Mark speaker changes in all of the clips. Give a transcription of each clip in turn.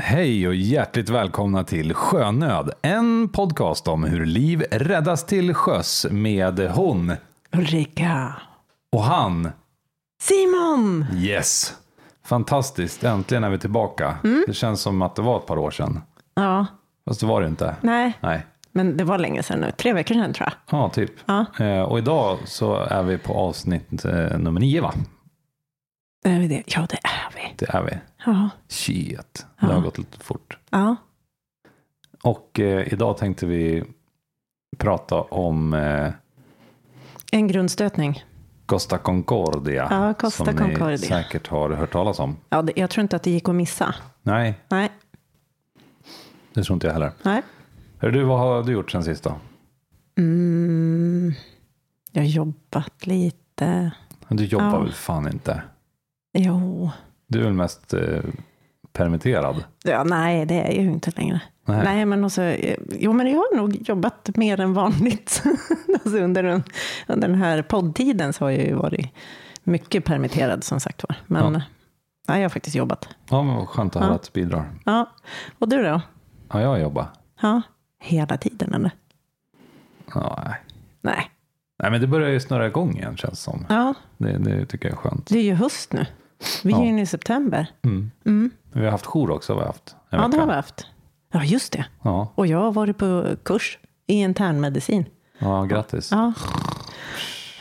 Speaker 1: Hej och hjärtligt välkomna till Sjönöd, en podcast om hur liv räddas till sjöss med hon
Speaker 2: Ulrika.
Speaker 1: och han.
Speaker 2: Simon!
Speaker 1: Yes! Fantastiskt, äntligen är vi tillbaka.
Speaker 2: Mm.
Speaker 1: Det känns som att det var ett par år sedan.
Speaker 2: Ja,
Speaker 1: Fast det var det inte.
Speaker 2: nej,
Speaker 1: Nej.
Speaker 2: men det var länge sedan nu. Tre veckor sedan tror jag.
Speaker 1: Ja, typ.
Speaker 2: Ja.
Speaker 1: Eh, och idag så är vi på avsnitt eh, nummer nio, va?
Speaker 2: Är vi det? Ja, det är vi.
Speaker 1: Det är vi.
Speaker 2: Ja.
Speaker 1: Shit, det har
Speaker 2: Ja.
Speaker 1: gått lite fort.
Speaker 2: ja.
Speaker 1: Och eh, idag tänkte vi prata om eh,
Speaker 2: En grundstötning.
Speaker 1: Costa Concordia.
Speaker 2: Ja, Costa
Speaker 1: som ni
Speaker 2: Concordia.
Speaker 1: säkert har hört talas om.
Speaker 2: Ja, det, jag tror inte att det gick att missa.
Speaker 1: Nej,
Speaker 2: Nej,
Speaker 1: det tror inte jag heller.
Speaker 2: nej.
Speaker 1: Hör du, vad har du gjort sen sist då?
Speaker 2: Mm. Jag har jobbat lite.
Speaker 1: Du jobbar
Speaker 2: Ja.
Speaker 1: väl fan inte?
Speaker 2: Jo.
Speaker 1: Du är väl mest eh, permitterad?
Speaker 2: Ja, nej, det är jag ju inte längre.
Speaker 1: Nej.
Speaker 2: Nej, men också, eh, jo, men jag har nog jobbat mer än vanligt. alltså under, den, under den här poddtiden så har jag ju varit mycket permitterad som sagt var. Men
Speaker 1: Ja.
Speaker 2: nej, jag har faktiskt jobbat.
Speaker 1: Ja, men vad skönt att höra
Speaker 2: Ja.
Speaker 1: att du bidrar.
Speaker 2: Ja, och du då?
Speaker 1: Ja, jag jobbar.
Speaker 2: Ja, hela tiden eller?
Speaker 1: Ja, nej.
Speaker 2: Nej.
Speaker 1: nej, men det börjar ju snurra igång igen känns som.
Speaker 2: Ja,
Speaker 1: Det, det tycker jag är skönt.
Speaker 2: det är ju höst nu. Vi är
Speaker 1: Ja.
Speaker 2: ju inne i september.
Speaker 1: Mm.
Speaker 2: Mm.
Speaker 1: Vi har haft jour också, har vi haft. en
Speaker 2: Ja, det
Speaker 1: vecka.
Speaker 2: har vi haft. Ja, just det.
Speaker 1: Ja,
Speaker 2: Och jag har varit på kurs i internmedicin.
Speaker 1: ja grattis.
Speaker 2: Ja.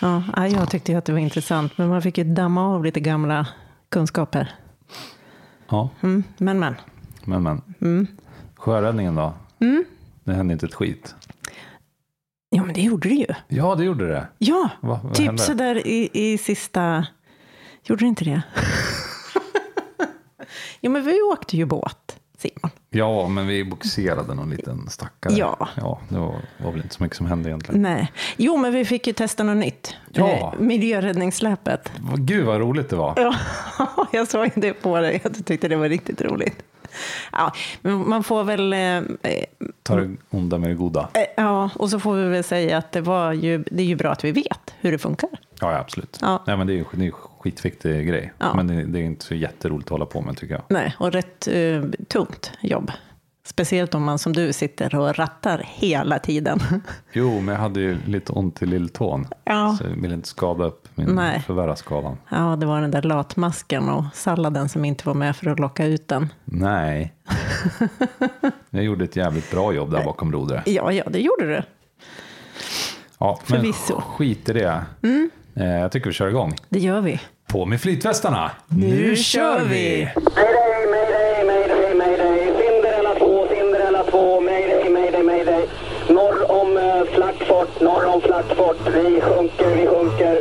Speaker 2: Ja, nej, jag tyckte ju att det var intressant, men man fick ju damma av lite gamla kunskaper.
Speaker 1: Ja,
Speaker 2: Mm, men, Mm. men.
Speaker 1: men men. Sjöräddningen då?
Speaker 2: Mm.
Speaker 1: Det hände inte ett skit.
Speaker 2: Ja, men det gjorde det ju.
Speaker 1: Ja, det gjorde det.
Speaker 2: Ja,
Speaker 1: Va, vad
Speaker 2: typ
Speaker 1: hände?
Speaker 2: sådär i, i sista... Gjorde det inte det? jo, men vi åkte ju båt, Simon.
Speaker 1: Ja, men vi boxerade någon liten stackare.
Speaker 2: Ja.
Speaker 1: ja det var, var väl inte så mycket som hände egentligen.
Speaker 2: Nej. Jo, men vi fick ju testa något nytt.
Speaker 1: Ja.
Speaker 2: Eh, miljöräddningssläpet.
Speaker 1: Vad- Gud vad roligt det var.
Speaker 2: Ja, jag såg det på dig. Jag tyckte det var riktigt roligt. Ja, men man får väl... eh, eh,
Speaker 1: Ta det onda med det goda.
Speaker 2: Eh, Ja, och så får vi väl säga att det, var ju, det är ju bra att vi vet hur det funkar.
Speaker 1: Ja, ja absolut.
Speaker 2: Ja.
Speaker 1: Nej, men det är ju det är ju en skitviktig grej.
Speaker 2: Ja.
Speaker 1: Men det, det är inte så jätteroligt att hålla på med tycker jag.
Speaker 2: Nej, och rätt eh, tungt jobb. Speciellt om man som du sitter och rattar hela tiden.
Speaker 1: Jo, men jag hade ju lite ont i lilltån.
Speaker 2: Ja.
Speaker 1: Så jag ville inte skada upp min
Speaker 2: Nej.
Speaker 1: förvärra skadan.
Speaker 2: ja, det var den där latmasken och salladen som inte var med för att locka ut den.
Speaker 1: Nej. jag gjorde ett jävligt bra jobb där bakom rodret.
Speaker 2: Ja, ja, det gjorde du.
Speaker 1: Ja, men
Speaker 2: Förvisso. Mm.
Speaker 1: skit i det. Eh, jag tycker vi kör igång.
Speaker 2: Det gör vi.
Speaker 1: På med flytvästarna!
Speaker 2: Nu kör vi!
Speaker 3: Mayday, mayday, mayday, mayday. Cinderella 2, Cinderella 2. Mayday, mayday, mayday. Norr om eh, Flackfort, norr om Flackfort. Vi sjunker, vi sjunker.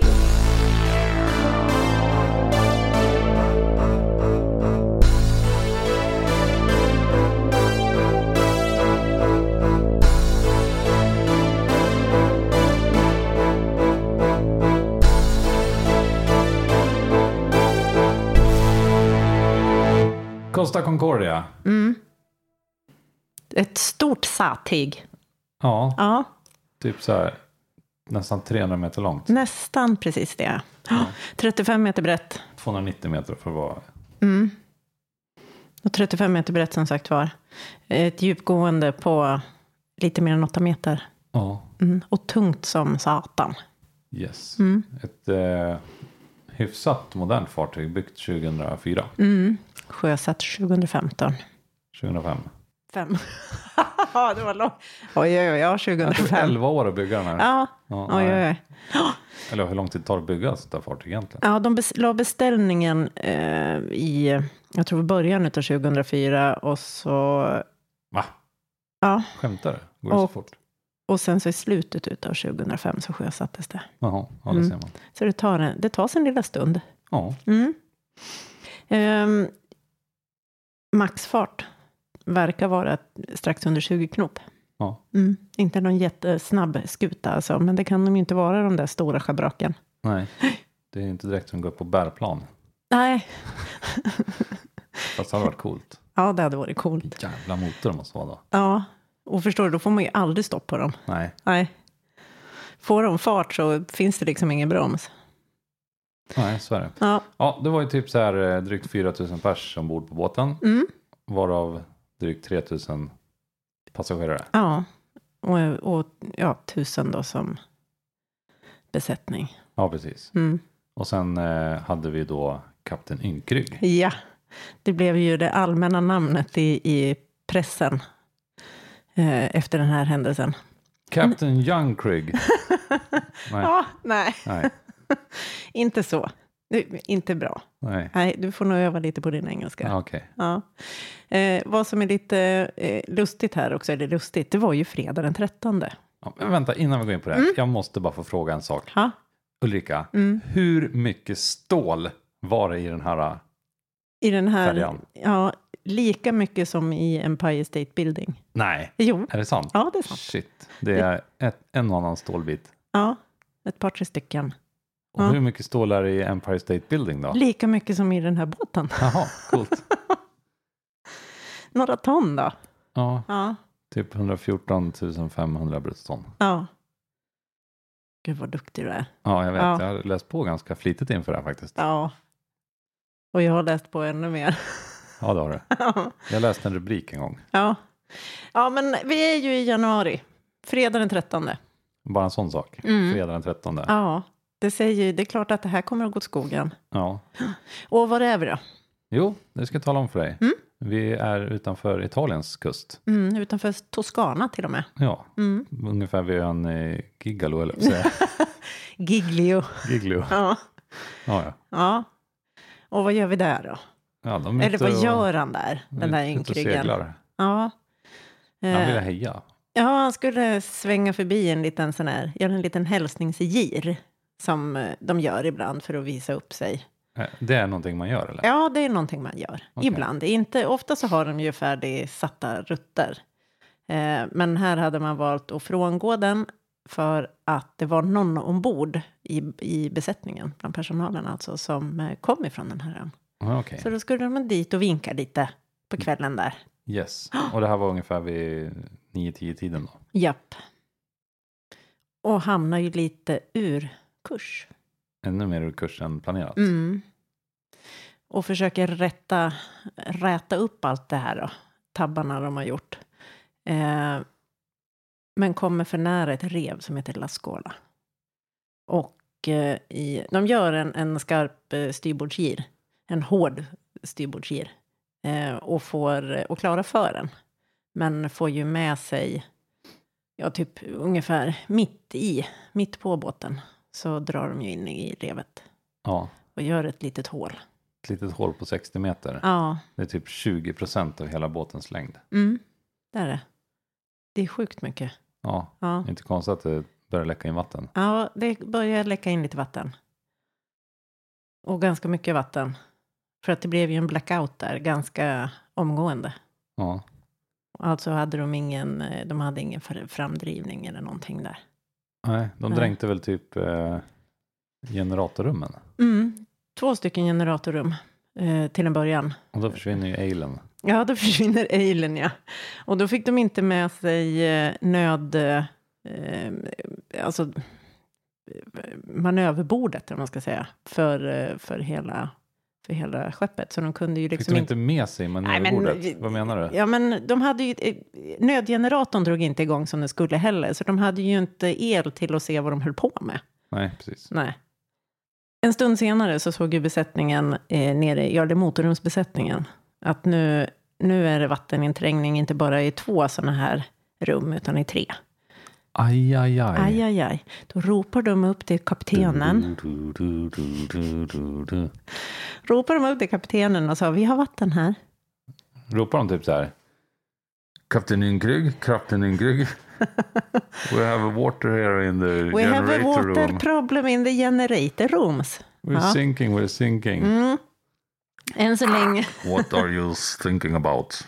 Speaker 1: Costa Concordia.
Speaker 2: Ett stort sattig.
Speaker 1: Ja,
Speaker 2: Ja,
Speaker 1: typ så här nästan 300 meter långt.
Speaker 2: nästan precis det. 35 meter brett Mm.
Speaker 1: 290 meter för att vara...
Speaker 2: och 35 meter brett som sagt var. Ett djupgående på lite mer än 8 meter.
Speaker 1: Ja, Mm.
Speaker 2: Mm, och tungt som satan. Mm.
Speaker 1: yes. Ett eh, hyfsat modernt fartyg byggt 2004.
Speaker 2: Mm. Sjösatt 2015.
Speaker 1: 2005.
Speaker 2: Fem. Ja, det var långt. Oj, oj, oj, ja,
Speaker 1: Det tog
Speaker 2: 2005.
Speaker 1: 11 år att bygga den här.
Speaker 2: Ja,
Speaker 1: Ja,
Speaker 2: oj,
Speaker 1: nej.
Speaker 2: oj, oj.
Speaker 1: Eller hur lång tid tar det att bygga ett sånt där fartyg egentligen?
Speaker 2: Ja, de bes- la beställningen eh, i, jag tror början av 2004 och så,
Speaker 1: Va?
Speaker 2: ja,
Speaker 1: Skämtar du? Går det så
Speaker 2: Och-
Speaker 1: fort?
Speaker 2: och sen så i slutet av 2005 så sjösattes det.
Speaker 1: Jaha, ja det
Speaker 2: Mm.
Speaker 1: ser man.
Speaker 2: Så det tar en, det tar sin lilla stund.
Speaker 1: Ja,
Speaker 2: Mm. Ehm, maxfart verkar vara strax under 20 knop.
Speaker 1: Ja.
Speaker 2: Mm. Inte någon jättesnabb skuta alltså, men det kan de ju inte vara de där stora schabraken.
Speaker 1: nej. Det är inte direkt som går på bärplan.
Speaker 2: Nej,
Speaker 1: Fast det hade varit coolt.
Speaker 2: ja det hade varit coolt.
Speaker 1: Jävla motor det måste vara då.
Speaker 2: Ja, och förstår du, då får man ju aldrig stopp på dem.
Speaker 1: Nej.
Speaker 2: Nej. Får de fart så finns det liksom ingen broms.
Speaker 1: Nej, så är det.
Speaker 2: Ja, Mm.
Speaker 1: Ja, det var ju typ så här eh, drygt 4 000 pers ombord på båten. Varav drygt 3000 passagerare.
Speaker 2: Ja, och, och ja, tusen då som besättning.
Speaker 1: Ja, precis.
Speaker 2: Mm.
Speaker 1: Och sen eh, hade vi då Kapten Ynkrygg.
Speaker 2: Ja, det blev ju det allmänna namnet i, i pressen eh, efter den här händelsen.
Speaker 1: Kapten Youngkrygg. Nej.
Speaker 2: Ja, nej,
Speaker 1: Nej,
Speaker 2: inte så. Nu, inte bra.
Speaker 1: nej.
Speaker 2: Nej, du får nog öva lite på din engelska.
Speaker 1: Ja, Okej.
Speaker 2: Ja. Eh, vad som är lite eh, lustigt här också, eller lustigt, det var ju fredag den 13.
Speaker 1: Ja, men vänta, innan vi går in på det här.
Speaker 2: Mm.
Speaker 1: Jag måste bara få fråga en sak.
Speaker 2: Ha?
Speaker 1: Ulrika,
Speaker 2: Mm.
Speaker 1: hur mycket stål var det i den här?
Speaker 2: I den här,
Speaker 1: Färjan.
Speaker 2: ja, lika mycket som i Empire State Building.
Speaker 1: Nej,
Speaker 2: Jo,
Speaker 1: är det sant?
Speaker 2: ja det är sant.
Speaker 1: Shit, det är ett, en och annan stålbit.
Speaker 2: Ja, ett par, tre stycken.
Speaker 1: Och
Speaker 2: Ja.
Speaker 1: hur mycket stål är det i Empire State Building då?
Speaker 2: Lika mycket som i den här båten.
Speaker 1: Jaha, coolt.
Speaker 2: Några ton då.
Speaker 1: Ja,
Speaker 2: Ja.
Speaker 1: typ 114 500 bruttoton.
Speaker 2: ja. Gud vad duktig du är.
Speaker 1: Ja, jag vet.
Speaker 2: Ja.
Speaker 1: Jag har läst på ganska flitigt inför det här faktiskt.
Speaker 2: Ja. Och jag har läst på ännu mer.
Speaker 1: Ja, det har du. Jag läste en rubrik en gång.
Speaker 2: ja. ja, men vi är ju i januari. Fredag den 13.
Speaker 1: Bara en sån sak.
Speaker 2: Mm.
Speaker 1: Fredag den 13. Ja.
Speaker 2: Ja, det säger ju, det är klart att det här kommer att gå åt skogen. Och var är vi då?
Speaker 1: Jo, det ska jag tala om för dig. Vi är utanför Italiens kust.
Speaker 2: Mm, utanför Toscana till och med.
Speaker 1: Ja,
Speaker 2: Mm.
Speaker 1: ungefär vid ön eh, Gigalo, eller vad säger
Speaker 2: Giglio.
Speaker 1: jag? Giglio.
Speaker 2: Ja.
Speaker 1: Ja, ja.
Speaker 2: ja. Och vad gör vi där då?
Speaker 1: ja de är
Speaker 2: Eller
Speaker 1: ute
Speaker 2: vad
Speaker 1: och-
Speaker 2: gör han där, den där
Speaker 1: ute och
Speaker 2: ynkryggen?
Speaker 1: seglar.
Speaker 2: Ja.
Speaker 1: Han ville
Speaker 2: Eh,
Speaker 1: heja.
Speaker 2: ja, han skulle svänga förbi en liten sån här, göra en liten hälsningsgir som eh, de gör ibland för att visa upp sig.
Speaker 1: Eh, Det är någonting man gör, eller?
Speaker 2: Ja, det är någonting man gör.
Speaker 1: Okej.
Speaker 2: Ibland. Inte, ofta så har de ju färdigsatta rutter. Eh, men här hade man valt att frångå den för att det var någon ombord i, i besättningen, bland personalen alltså, som eh, kom ifrån den här ön.
Speaker 1: Ja, Okej. Mm.
Speaker 2: Så då skulle de dit och vinka lite på kvällen där.
Speaker 1: Yes. Och det här var ungefär vid 9-10-tiden då?
Speaker 2: Japp. Och hamnar ju lite ur kurs.
Speaker 1: Ännu mer ur kurs än planerat?
Speaker 2: Mm. Och försöker rätta, räta upp allt det här då, tabbarna de har gjort. Eh, men kommer för nära ett rev som heter Lascola. Och eh, i, de gör en, en skarp eh, styrbordsgir, en hård styrbordsgir. Eh, och, får, och klarar fören. Men får ju med sig, ja typ ungefär mitt i, mitt på båten. Så drar de ju in i revet
Speaker 1: Ja,
Speaker 2: och gör ett litet hål.
Speaker 1: ett litet hål på 60 meter.
Speaker 2: Ja,
Speaker 1: Det är typ 20 procent av hela båtens längd.
Speaker 2: mm. det är det. Det är sjukt mycket.
Speaker 1: Ja,
Speaker 2: Ja.
Speaker 1: inte konstigt att det börjar läcka in vatten.
Speaker 2: ja, det börjar läcka in lite vatten. Och ganska mycket vatten. För att det blev ju en blackout där ganska omgående.
Speaker 1: Ja,
Speaker 2: Alltså hade de ingen, eh, de hade ingen fr- framdrivning eller någonting där.
Speaker 1: nej, de
Speaker 2: Nej.
Speaker 1: dränkte väl typ eh, generatorrummen.
Speaker 2: Mm. Två stycken generatorum eh, till en början.
Speaker 1: Och då försvinner ju elen.
Speaker 2: Ja, då försvinner ejlen, ja. Och då fick de inte med sig eh, nöd... Eh, alltså eh, manöverbordet, om man ska säga, för, eh, för, hela, för hela skeppet. Så de kunde ju
Speaker 1: Fick
Speaker 2: liksom
Speaker 1: de inte med sig
Speaker 2: Nej, men-
Speaker 1: manöverbordet? Vad menar du?
Speaker 2: Ja, men de hade ju... eh, Nödgeneratorn drog inte igång som den skulle heller, så de hade ju inte el till att se vad de höll på med.
Speaker 1: Nej, precis.
Speaker 2: Nej. En stund senare så såg ju besättningen eh, nere, ja det är motorrumsbesättningen, att nu, nu är det vatteninträngning inte bara i två sådana här rum, utan i tre.
Speaker 1: Aj, aj, aj.
Speaker 2: Aj, aj, aj. Då ropar de upp till kaptenen,
Speaker 1: Du, du, du, du, du, du.
Speaker 2: ropar de upp till kaptenen och sa vi har vatten här.
Speaker 1: Ropar de typ så här? Kapten Ynkrygg, kapten Ynkrygg. We have water here in the
Speaker 2: We have a
Speaker 1: generator
Speaker 2: water
Speaker 1: room.
Speaker 2: problem in the generator rooms.
Speaker 1: We're
Speaker 2: Ja.
Speaker 1: sinking, we're sinking.
Speaker 2: Mm. Än så länge.
Speaker 1: What are you thinking about?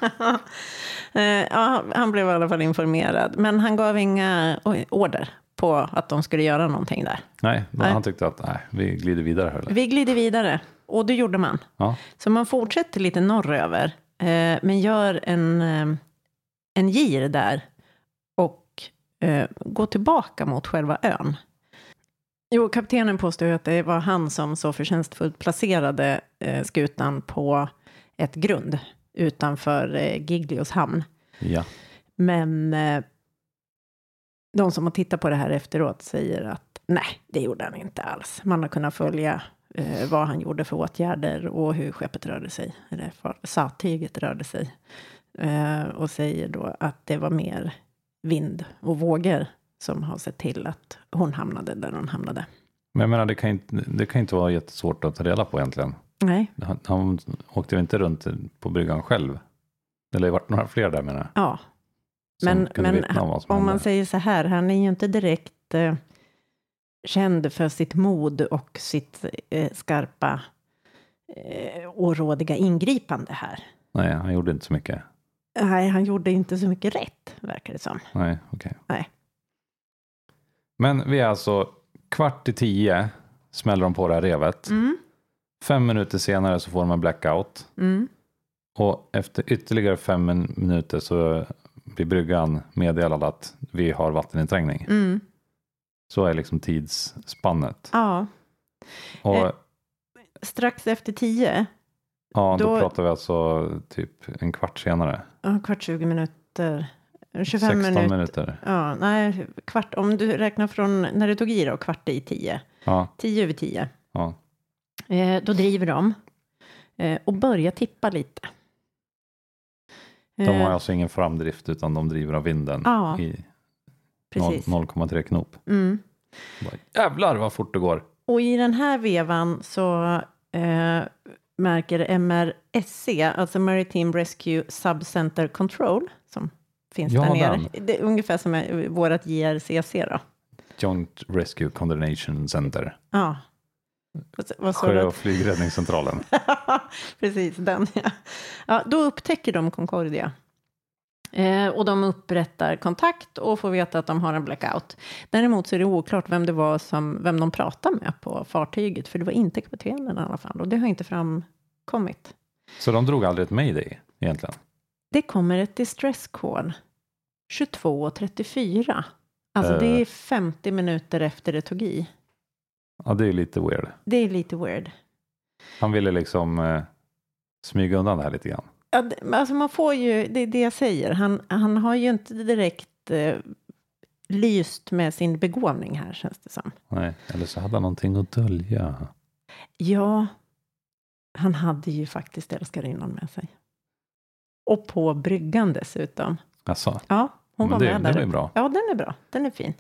Speaker 2: Eh, ja, han- han blev i alla fall informerad, men han gav inga oj, order på att de skulle göra någonting där.
Speaker 1: nej, men
Speaker 2: Nej.
Speaker 1: han tyckte att nej, vi glider vidare här. eller?
Speaker 2: Vi glider vidare, och det gjorde man.
Speaker 1: Ja,
Speaker 2: Så man fortsätter lite norröver, eh, men gör en, eh, en gir där och eh, går tillbaka mot själva ön. Jo, kaptenen påstår ju att det var han som så förtjänstfullt placerade eh, skutan på ett grund utanför eh, Giglios hamn.
Speaker 1: Ja.
Speaker 2: Men eh, de som har tittat på det här efteråt säger att nej, det gjorde han inte alls. Man har kunnat följa eh, vad han gjorde för åtgärder och hur skeppet rörde sig, eller far- sattyget rörde sig. Eh, och säger då att det var mer vind och vågor som har sett till att hon hamnade där hon hamnade.
Speaker 1: Men jag menar, det kan, inte, det kan inte vara jättesvårt att ta reda på egentligen.
Speaker 2: Nej,
Speaker 1: Han, han åkte väl inte runt på bryggan själv? Eller det varit några fler där menar jag.
Speaker 2: ja.
Speaker 1: som
Speaker 2: Men-
Speaker 1: kunde
Speaker 2: men
Speaker 1: vittna om vad som
Speaker 2: Om man
Speaker 1: hände.
Speaker 2: säger så här, han är ju inte direkt eh, känd för sitt mod och sitt eh, skarpa eh, och rådiga ingripande här.
Speaker 1: Nej, han gjorde inte så mycket.
Speaker 2: Nej, han gjorde inte så mycket rätt, verkar det som.
Speaker 1: Nej, okej.
Speaker 2: Nej.
Speaker 1: Men vi är alltså kvart i tio smäller de på det här revet.
Speaker 2: Mm.
Speaker 1: Fem minuter senare så får de en blackout.
Speaker 2: Mm.
Speaker 1: Och efter ytterligare fem min- minuter så blir bryggan meddelad att vi har vatteninträngning.
Speaker 2: Mm.
Speaker 1: Så är liksom tidsspannet.
Speaker 2: Ja,
Speaker 1: Och
Speaker 2: Eh, strax efter tio,
Speaker 1: ja, då,
Speaker 2: då-
Speaker 1: pratar vi alltså typ en kvart senare.
Speaker 2: ja, kvart 20 minuter, 25
Speaker 1: 16
Speaker 2: minuter.
Speaker 1: minuter.
Speaker 2: Ja, nej, kvart, om du räknar från när det tog i då, kvart i tio,
Speaker 1: Ja,
Speaker 2: tio över tio,
Speaker 1: ja.
Speaker 2: eh, då driver de eh, och börjar tippa lite.
Speaker 1: De har
Speaker 2: Eh,
Speaker 1: alltså ingen framdrift utan de driver av vinden
Speaker 2: Ja,
Speaker 1: i noll-
Speaker 2: precis.
Speaker 1: 0,3 knop.
Speaker 2: Mm.
Speaker 1: Bara, Jävlar vad fort det går.
Speaker 2: Och i den här vevan så eh, märker MRSC, alltså Maritime Rescue Subcenter Control, som finns
Speaker 1: Ja,
Speaker 2: där nere,
Speaker 1: den.
Speaker 2: det är ungefär som eh, vårat JRCC då.
Speaker 1: Joint Rescue Coordination Center.
Speaker 2: Ja. Vad, s- vad sa
Speaker 1: Sjö
Speaker 2: du?
Speaker 1: och flygräddningscentralen.
Speaker 2: Precis, den ja. ja. Då upptäcker de Concordia. Eh, och de upprättar kontakt och får veta att de har en blackout. Däremot så är det oklart vem det var som, vem de pratade med på fartyget, för det var inte kaptenen i alla fall, och det har inte framkommit.
Speaker 1: Så de drog aldrig ett mayday egentligen.
Speaker 2: Det kommer ett distress call 22.34. Alltså det är 50 minuter efter det tog i.
Speaker 1: Ja, det är ju lite weird.
Speaker 2: Det är lite weird.
Speaker 1: Han ville liksom eh, smyga undan det här lite grann.
Speaker 2: Ja, det- men alltså man får ju, det är det jag säger, han, han har ju inte direkt eh, lyst med sin begåvning här känns det som.
Speaker 1: Nej, eller så hade han någonting att dölja.
Speaker 2: Ja, han hade ju faktiskt älskarinnan med sig. Och på bryggan dessutom.
Speaker 1: Alltså,
Speaker 2: Ja, hon
Speaker 1: men
Speaker 2: var
Speaker 1: det,
Speaker 2: med
Speaker 1: det
Speaker 2: där.
Speaker 1: var ju bra.
Speaker 2: Ja, den är bra, den är fin.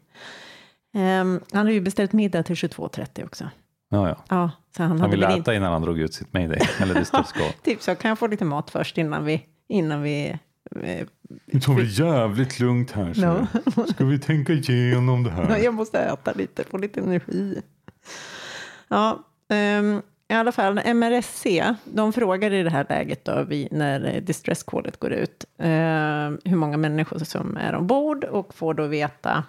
Speaker 2: Ehm, han har ju beställt middag till 22.30 också.
Speaker 1: Ja, ja.
Speaker 2: Ja, så han,
Speaker 1: Han
Speaker 2: hade
Speaker 1: ville
Speaker 2: väl
Speaker 1: äta innan han drog ut sitt mayday. Eller distressgolv.
Speaker 2: Typ så, kan jag få lite mat först innan vi, innan vi eh,
Speaker 1: Nu tar vi jävligt lugnt här. så
Speaker 2: Ja.
Speaker 1: Ska vi tänka igenom det
Speaker 2: Ja, Jag måste äta lite, få lite energi. Ja, ehm, i alla fall MRSC, de frågar i det här läget då, vi, när eh, distresscodet går ut, ehm, hur många människor som är ombord och får då veta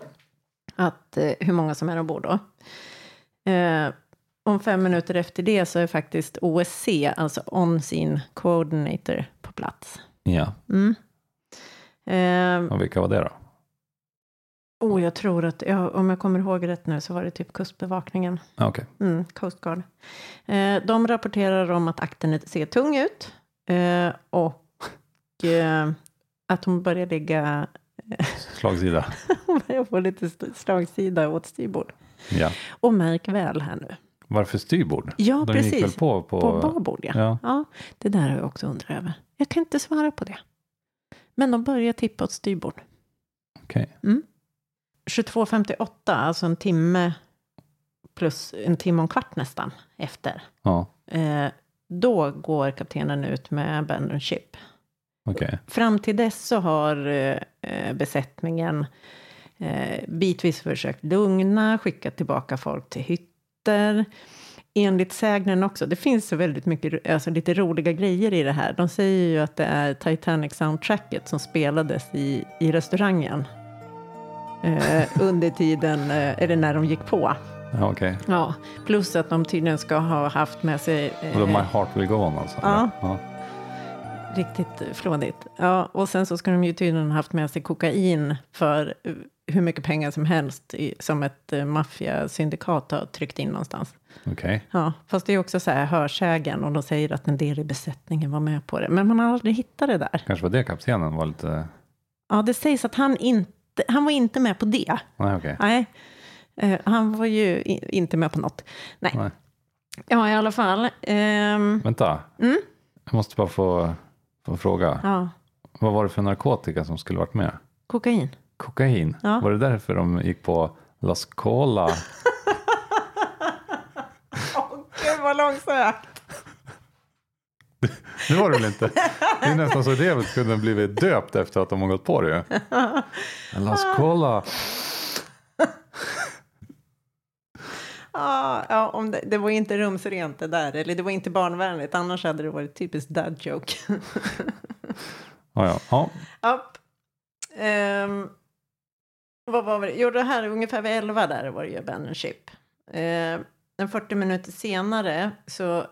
Speaker 2: att, eh, hur många som är ombord då. Eh, om fem minuter efter det så är faktiskt OSC, alltså On-Scene Coordinator, på plats.
Speaker 1: Ja,
Speaker 2: Mm. Ehm,
Speaker 1: och vilka var det då?
Speaker 2: Oh, jag tror att, ja, om jag kommer ihåg rätt nu, så var det typ Kustbevakningen,
Speaker 1: Ja, Ah, Okej.
Speaker 2: mm, Coast Guard. Eh, de rapporterar om att akten ser tung ut eh, och eh, att hon börjar ligga,
Speaker 1: Slagsida.
Speaker 2: hon börjar få lite st- slagsida åt styrbord.
Speaker 1: Ja.
Speaker 2: Och märk väl här nu.
Speaker 1: Varför styrbord?
Speaker 2: Ja,
Speaker 1: De gick väl
Speaker 2: precis.
Speaker 1: på, på,
Speaker 2: På babord, ja.
Speaker 1: Ja.
Speaker 2: ja. Det där har jag också undrat över. Jag kan inte svara på det. Men de börjar tippa åt styrbord.
Speaker 1: Okej.
Speaker 2: Mm. 22.58, alltså en timme plus en timme och en kvart nästan efter.
Speaker 1: Ja,
Speaker 2: Eh, då går kaptenen ut med abandoned ship.
Speaker 1: okej.
Speaker 2: Fram till dess så har eh, eh, besättningen eh, bitvis försökt lugna, skickat tillbaka folk till hytter. Enligt sägnen också, det finns så väldigt mycket, alltså lite roliga grejer i det här. De säger ju att det är Titanic-soundtracket som spelades i, i restaurangen eh, under tiden, eh, eller när de gick på.
Speaker 1: Ja, okej.
Speaker 2: Ja, plus att de tydligen ska ha haft med sig... eh,
Speaker 1: Vadå, My Heart Will Go On alltså?
Speaker 2: Ja.
Speaker 1: ja.
Speaker 2: Riktigt flådigt. Ja, och sen så ska de ju tydligen ha haft med sig kokain för eh, hur mycket pengar som helst i, som ett eh, maffiasyndikat har tryckt in någonstans.
Speaker 1: Okej.
Speaker 2: Ja, fast det är också så här hörsägen och de säger att en del i besättningen var med på det. Men man har aldrig hittat det där.
Speaker 1: Kanske var det kaptenen var lite...
Speaker 2: Ja, det sägs att han inte, han var inte med på det.
Speaker 1: Nej, okej.
Speaker 2: Nej, Eh, han var ju i, inte med på något. Nej.
Speaker 1: Nej.
Speaker 2: Ja, i alla fall. Ehm,
Speaker 1: Vänta.
Speaker 2: Mm.
Speaker 1: Jag måste bara få, få fråga.
Speaker 2: ja,
Speaker 1: Vad var det för narkotika som skulle varit med?
Speaker 2: kokain.
Speaker 1: Kokain?
Speaker 2: Ja.
Speaker 1: Var det därför de gick på Las Cola?
Speaker 2: Åh, gud vad långsökt.
Speaker 1: Det var det väl inte? Det är nästan så det kunde ha blivit döpt efter att de har gått på det ju. Las Cola.
Speaker 2: Ja, ja, om det, det var inte rumsrent det där, eller det var inte barnvänligt, annars hade det varit typiskt dad joke.
Speaker 1: Ja, ja. ja.
Speaker 2: Japp. Ehm, vad var det? Jo, det här är ungefär vid 11 där var det ju abandoned ship. Ehm, en 40 minuter senare så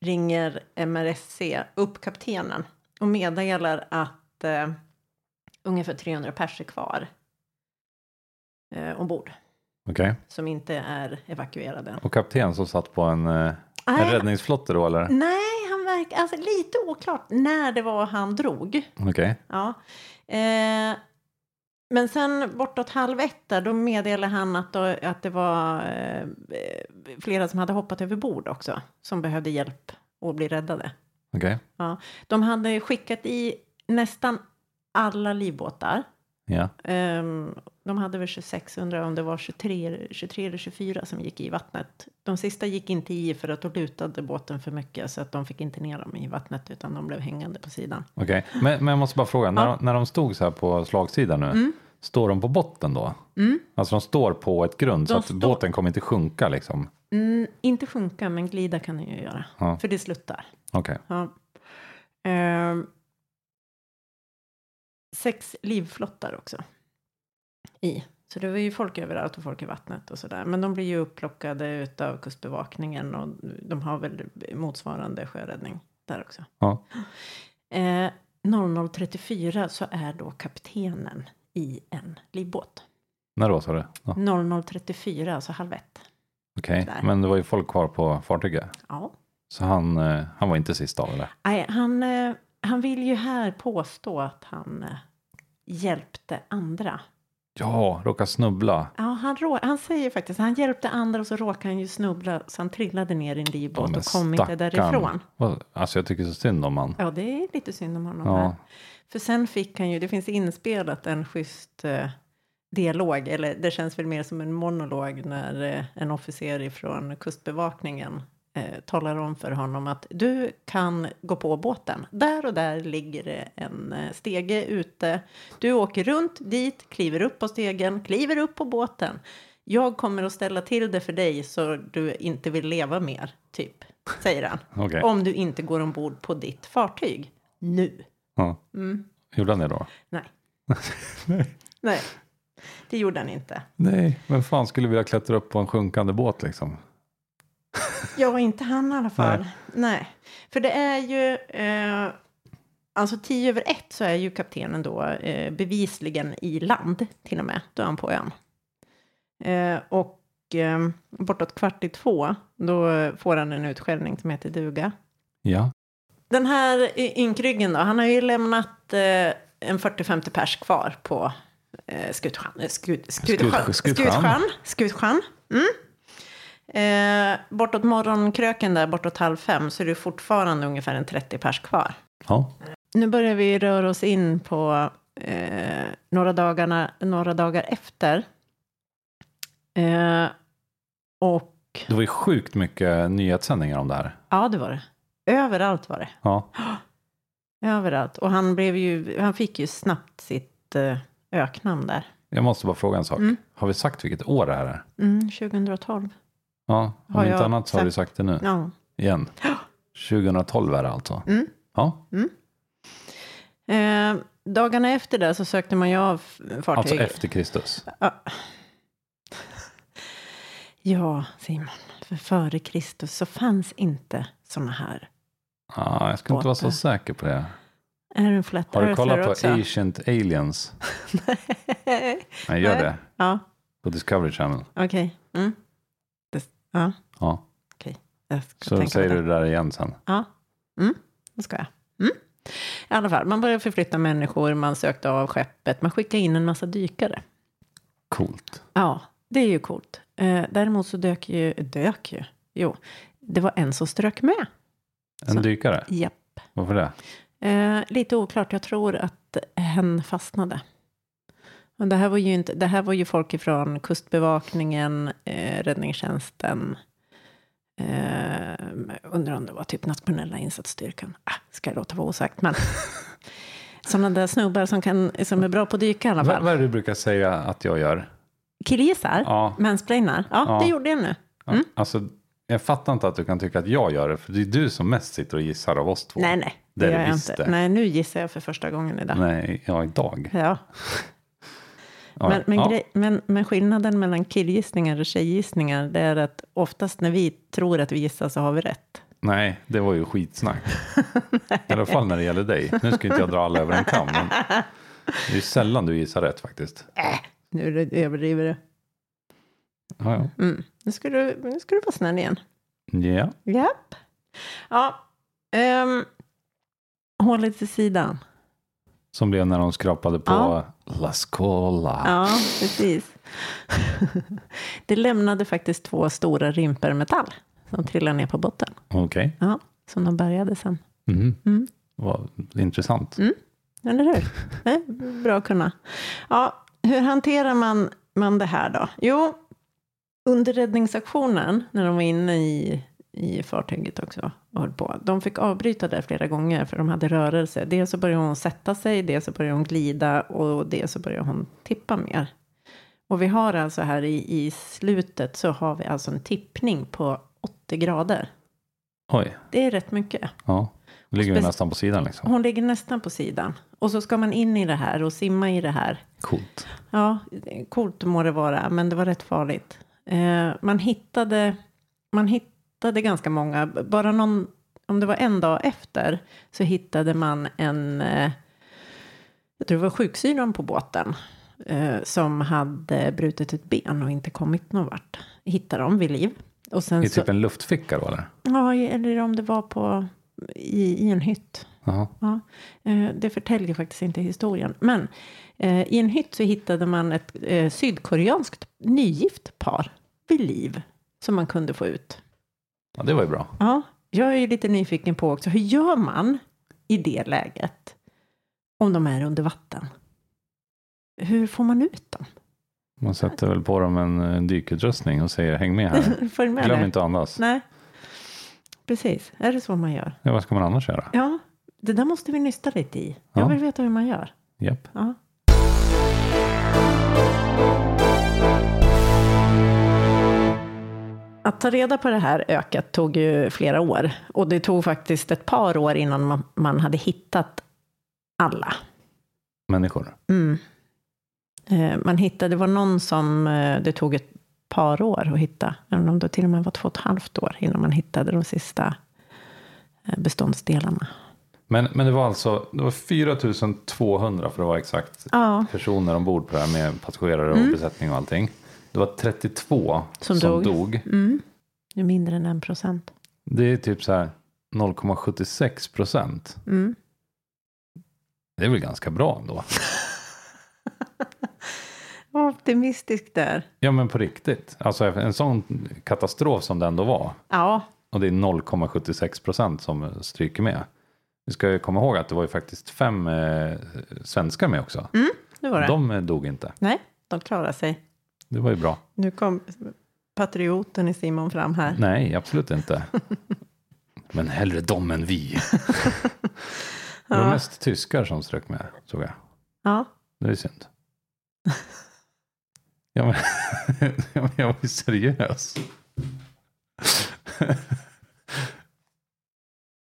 Speaker 2: ringer MRSC upp kaptenen och meddelar att eh, ungefär 300 pers är kvar eh, ombord
Speaker 1: Okej.
Speaker 2: som inte är evakuerade än.
Speaker 1: Och kapten som satt på en, eh, en
Speaker 2: Nej.
Speaker 1: räddningsflotte då eller?
Speaker 2: Nej, han verkar, alltså lite oklart när det var han drog.
Speaker 1: Okej.
Speaker 2: Ja. Eh, men sen bortåt halv ett där, då meddelade han att, då, att det var eh, flera som hade hoppat över bord också, som behövde hjälp och bli räddade.
Speaker 1: Okej.
Speaker 2: Ja. De hade skickat i nästan alla livbåtar.
Speaker 1: Ja.
Speaker 2: Ehm, de hade väl 26, undrar om det var 23, 23 eller 24 som gick i vattnet. De sista gick inte i för att då lutade båten för mycket så att de fick inte ner dem i vattnet utan de blev hängande på sidan.
Speaker 1: Okej. Men, men jag måste bara fråga. När, de, när de stod så här på slagsidan
Speaker 2: Mm.
Speaker 1: nu. Står de på botten då? Alltså de står på ett grund så
Speaker 2: De
Speaker 1: att
Speaker 2: står-
Speaker 1: båten kommer inte sjunka liksom?
Speaker 2: Mm, inte sjunka, men glida kan den ju göra.
Speaker 1: Ja.
Speaker 2: För det sluttar.
Speaker 1: Okej.
Speaker 2: Ja. Ehm, sex livflottar också. I. Så det var ju folk överallt och folk i vattnet och sådär. Men de blir ju upplockade utav kustbevakningen och de har väl motsvarande sjöräddning där också.
Speaker 1: Ja.
Speaker 2: Eh, 00.34 så är då kaptenen i en livbåt.
Speaker 1: När då sa du? Ja.
Speaker 2: 00.34, alltså halv ett.
Speaker 1: Okej.
Speaker 2: Där.
Speaker 1: Men det var ju folk kvar på fartyget.
Speaker 2: Ja.
Speaker 1: Så han, eh, han var inte sist av eller?
Speaker 2: Nej, han, eh, han vill ju här påstå att han eh, hjälpte andra.
Speaker 1: Ja, råkade snubbla.
Speaker 2: Ja, han, rå, han säger faktiskt, han hjälpte andra och så råkade han ju snubbla så han trillade ner i en
Speaker 1: Ja,
Speaker 2: livbåt
Speaker 1: men
Speaker 2: och kom inte
Speaker 1: stackarn.
Speaker 2: därifrån.
Speaker 1: Vad- Alltså jag tycker så synd om han.
Speaker 2: Ja, det är lite synd om honom.
Speaker 1: Ja.
Speaker 2: Här. För sen fick han ju, det finns inspelat en schysst eh, dialog, eller det känns väl mer som en monolog när eh, en officer ifrån kustbevakningen eh, talar om för honom att du kan gå på båten. Där och där ligger det en eh, stege ute. Du åker runt dit, kliver upp på stegen, kliver upp på båten. Jag kommer att ställa till det för dig så du inte vill leva mer, typ, säger han.
Speaker 1: Okej.
Speaker 2: Om du inte går ombord på ditt fartyg nu.
Speaker 1: Ja.
Speaker 2: Mm.
Speaker 1: Gjorde han det då?
Speaker 2: Nej. Nej, det gjorde han inte.
Speaker 1: Nej, vem fan skulle vilja klättra upp på en sjunkande båt liksom?
Speaker 2: Ja, inte han i alla fall. Nej. För det är ju... Eh, alltså tio över ett så är ju kaptenen då eh, bevisligen i land till och med. Då är han på ön. Eh, och eh, bortåt kvart i två då får han en utskällning som heter duga.
Speaker 1: Ja.
Speaker 2: Den här y- ynkryggen då, han har ju lämnat eh, en 40-50 pers kvar på eh, Skutskön. eh, Skut, Skutskön.
Speaker 1: Skutskön.
Speaker 2: Skutskön. Skutskön. Mm. Eh, bortåt morgonkröken där, bortåt halv fem, så är det fortfarande ungefär en 30 pers kvar.
Speaker 1: Ja.
Speaker 2: Nu börjar vi röra oss in på eh, några, dagarna, några dagar efter. Eh, och
Speaker 1: Det var ju sjukt mycket nyhetssändningar om det här.
Speaker 2: ja, det var det. Överallt var det.
Speaker 1: Ja.
Speaker 2: Överallt. Och han, blev ju, han fick ju snabbt sitt eh, öknamn där.
Speaker 1: Jag måste bara fråga en sak.
Speaker 2: Mm.
Speaker 1: Har vi sagt vilket år det här är?
Speaker 2: Mm, 2012.
Speaker 1: Ja, om
Speaker 2: Har
Speaker 1: inte
Speaker 2: jag
Speaker 1: annat så har vi sagt det nu.
Speaker 2: Ja.
Speaker 1: Igen. 2012 är det alltså.
Speaker 2: Mm.
Speaker 1: Ja,
Speaker 2: Eh, dagarna efter det så sökte man ju av fartyg.
Speaker 1: alltså efter Kristus.
Speaker 2: Ja, Simon. För före Kristus så fanns inte såna här.
Speaker 1: Ah, jag skulle inte vara så
Speaker 2: Båtar.
Speaker 1: säker på det.
Speaker 2: Är du en flat
Speaker 1: Har du
Speaker 2: earther
Speaker 1: kollat på
Speaker 2: också?
Speaker 1: Ancient Aliens? Nej, gör
Speaker 2: Nej.
Speaker 1: det.
Speaker 2: ja,
Speaker 1: På Discovery Channel.
Speaker 2: okej. Mm. Det, ja,
Speaker 1: Ja.
Speaker 2: jag ska
Speaker 1: Så
Speaker 2: tänka
Speaker 1: säger
Speaker 2: på
Speaker 1: du det där igen sen.
Speaker 2: Ja, mm, det ska jag. Mm. I alla fall, man började förflytta människor, man sökte av skeppet, man skickade in en massa dykare.
Speaker 1: Coolt.
Speaker 2: Ja, det är ju coolt. Eh, däremot så dök ju, dök ju, jo, det var en som strök med.
Speaker 1: En
Speaker 2: Så.
Speaker 1: dykare.
Speaker 2: Japp.
Speaker 1: Varför det?
Speaker 2: Eh, lite oklart, jag tror att hen fastnade. Men det här var ju, inte, det här var ju folk ifrån Kustbevakningen, eh, räddningstjänsten, eh, undrar om det var typ nationella insatsstyrkan. Ah, ska jag låta vara osagt, men sådana där snubbar som, kan, som är bra på att dyka i alla
Speaker 1: Vad,
Speaker 2: fall.
Speaker 1: vad är det du brukar säga att jag gör?
Speaker 2: Killgissar?
Speaker 1: Ja,
Speaker 2: Mansplainar? Ja,
Speaker 1: Ja.
Speaker 2: det gjorde jag nu.
Speaker 1: ja, alltså jag fattar inte att du kan tycka att jag gör det, för det är du som mest sitter och gissar av oss två.
Speaker 2: Nej, nej,
Speaker 1: Det
Speaker 2: det
Speaker 1: är
Speaker 2: gör
Speaker 1: det
Speaker 2: jag
Speaker 1: visst
Speaker 2: inte.
Speaker 1: det.
Speaker 2: Nej, nu gissar jag för första gången idag.
Speaker 1: Nej, ja, idag.
Speaker 2: Ja.
Speaker 1: Ja,
Speaker 2: Men, men,
Speaker 1: ja.
Speaker 2: grej, men, men skillnaden mellan killgissningar och tjejgissningar, det är att oftast när vi tror att vi gissar så har vi rätt.
Speaker 1: Nej, det var ju skitsnack. I alla fall när det gäller dig. Nu ska inte jag dra alla över en kam. Men det är ju sällan du gissar rätt faktiskt.
Speaker 2: Nu är det- överdriver du.
Speaker 1: Ja, ja.
Speaker 2: Mm. Nu, ska du. nu ska du vara snäll igen.
Speaker 1: Ja.
Speaker 2: Japp. Ja. Um, håll lite till sidan.
Speaker 1: Som blev när de skrapade på
Speaker 2: Ja.
Speaker 1: La Scola.
Speaker 2: Ja, precis. det lämnade faktiskt två stora rimpor metall som trillade ner på botten.
Speaker 1: Okej.
Speaker 2: Ja, som de bärgade sen.
Speaker 1: Mhm.
Speaker 2: Mm.
Speaker 1: Vad intressant.
Speaker 2: Eller hur? Nej, bra att kunna. Ja, hur hanterar man, man det här då? Jo, under räddningsaktionen, när de var inne i, i fartyget också och höll på, de fick avbryta där flera gånger för de hade rörelse. Dels så började hon sätta sig, dels så började hon glida och dels så började hon tippa mer. Och vi har alltså här i, i slutet så har vi alltså en tippning på 80 grader.
Speaker 1: Oj.
Speaker 2: Det är rätt mycket.
Speaker 1: Ja. Då ligger vi
Speaker 2: Spec-
Speaker 1: nästan på sidan liksom.
Speaker 2: Hon ligger nästan på sidan. Och så ska man in i det här och simma i det här.
Speaker 1: Coolt.
Speaker 2: Ja, coolt må det vara, men det var rätt farligt. Eh, man, hittade, man hittade ganska många, bara någon, om det var en dag efter, så hittade man en, eh, jag tror det var sjuksyrran på båten, eh, som hade brutit ett ben och inte kommit någon vart. Hittade dem vid liv. Och sen
Speaker 1: I
Speaker 2: så,
Speaker 1: typ en luftficka då eller?
Speaker 2: ja, eller om det var på, i, i en hytt.
Speaker 1: Jaha.
Speaker 2: Ja, eh, det förtäljer faktiskt inte historien. Men eh, i en hytt så hittade man ett eh, sydkoreanskt nygift par vid liv som man kunde få ut.
Speaker 1: Ja, det var ju bra.
Speaker 2: Ja, jag är ju lite nyfiken på också, hur gör man i det läget om de är under vatten? Hur får man ut dem?
Speaker 1: Man sätter väl på dem en eh, dykutrustning och säger häng med här.
Speaker 2: Följ med
Speaker 1: Glöm
Speaker 2: där.
Speaker 1: inte att andas.
Speaker 2: Nej, precis. Är det så man gör?
Speaker 1: Ja, vad ska man annars göra?
Speaker 2: Ja, det där måste vi nysta lite i.
Speaker 1: Ja.
Speaker 2: Jag vill veta hur man gör.
Speaker 1: Japp.
Speaker 2: Ja. Att ta reda på det här ökat tog ju flera år och det tog faktiskt ett par år innan man, man hade hittat alla.
Speaker 1: Människor.
Speaker 2: Mm. Eh, Man hittade, det var någon som eh, det tog ett par år att hitta, även om det till och med var två och ett halvt år innan man hittade de sista eh, beståndsdelarna.
Speaker 1: Men, men det var alltså det var 4200 för att vara exakt
Speaker 2: Ja,
Speaker 1: personer ombord på det här med passagerare och besättning och allting. Det var 32 som,
Speaker 2: Mm. Som
Speaker 1: dog.
Speaker 2: dog. mm. det är mindre än en procent.
Speaker 1: Det är typ så här 0,76 procent.
Speaker 2: Mm.
Speaker 1: Det är väl ganska bra ändå.
Speaker 2: Vad optimistisk där.
Speaker 1: Ja men på riktigt. Alltså en sån katastrof som det ändå var.
Speaker 2: Ja,
Speaker 1: Och det är 0,76 procent som stryker med. Vi ska ju komma ihåg att det var ju faktiskt fem eh, svenskar med också.
Speaker 2: nu var det.
Speaker 1: De eh, dog inte.
Speaker 2: Nej, de klarar sig.
Speaker 1: Det var ju bra.
Speaker 2: Nu kom patrioten i Simon fram här.
Speaker 1: Nej, absolut inte. Men hellre dem än vi. Det var
Speaker 2: Ja.
Speaker 1: mest tyskar som strök med, såg jag.
Speaker 2: Ja,
Speaker 1: Det är synd. Ja, men, ja, men jag var ju seriös.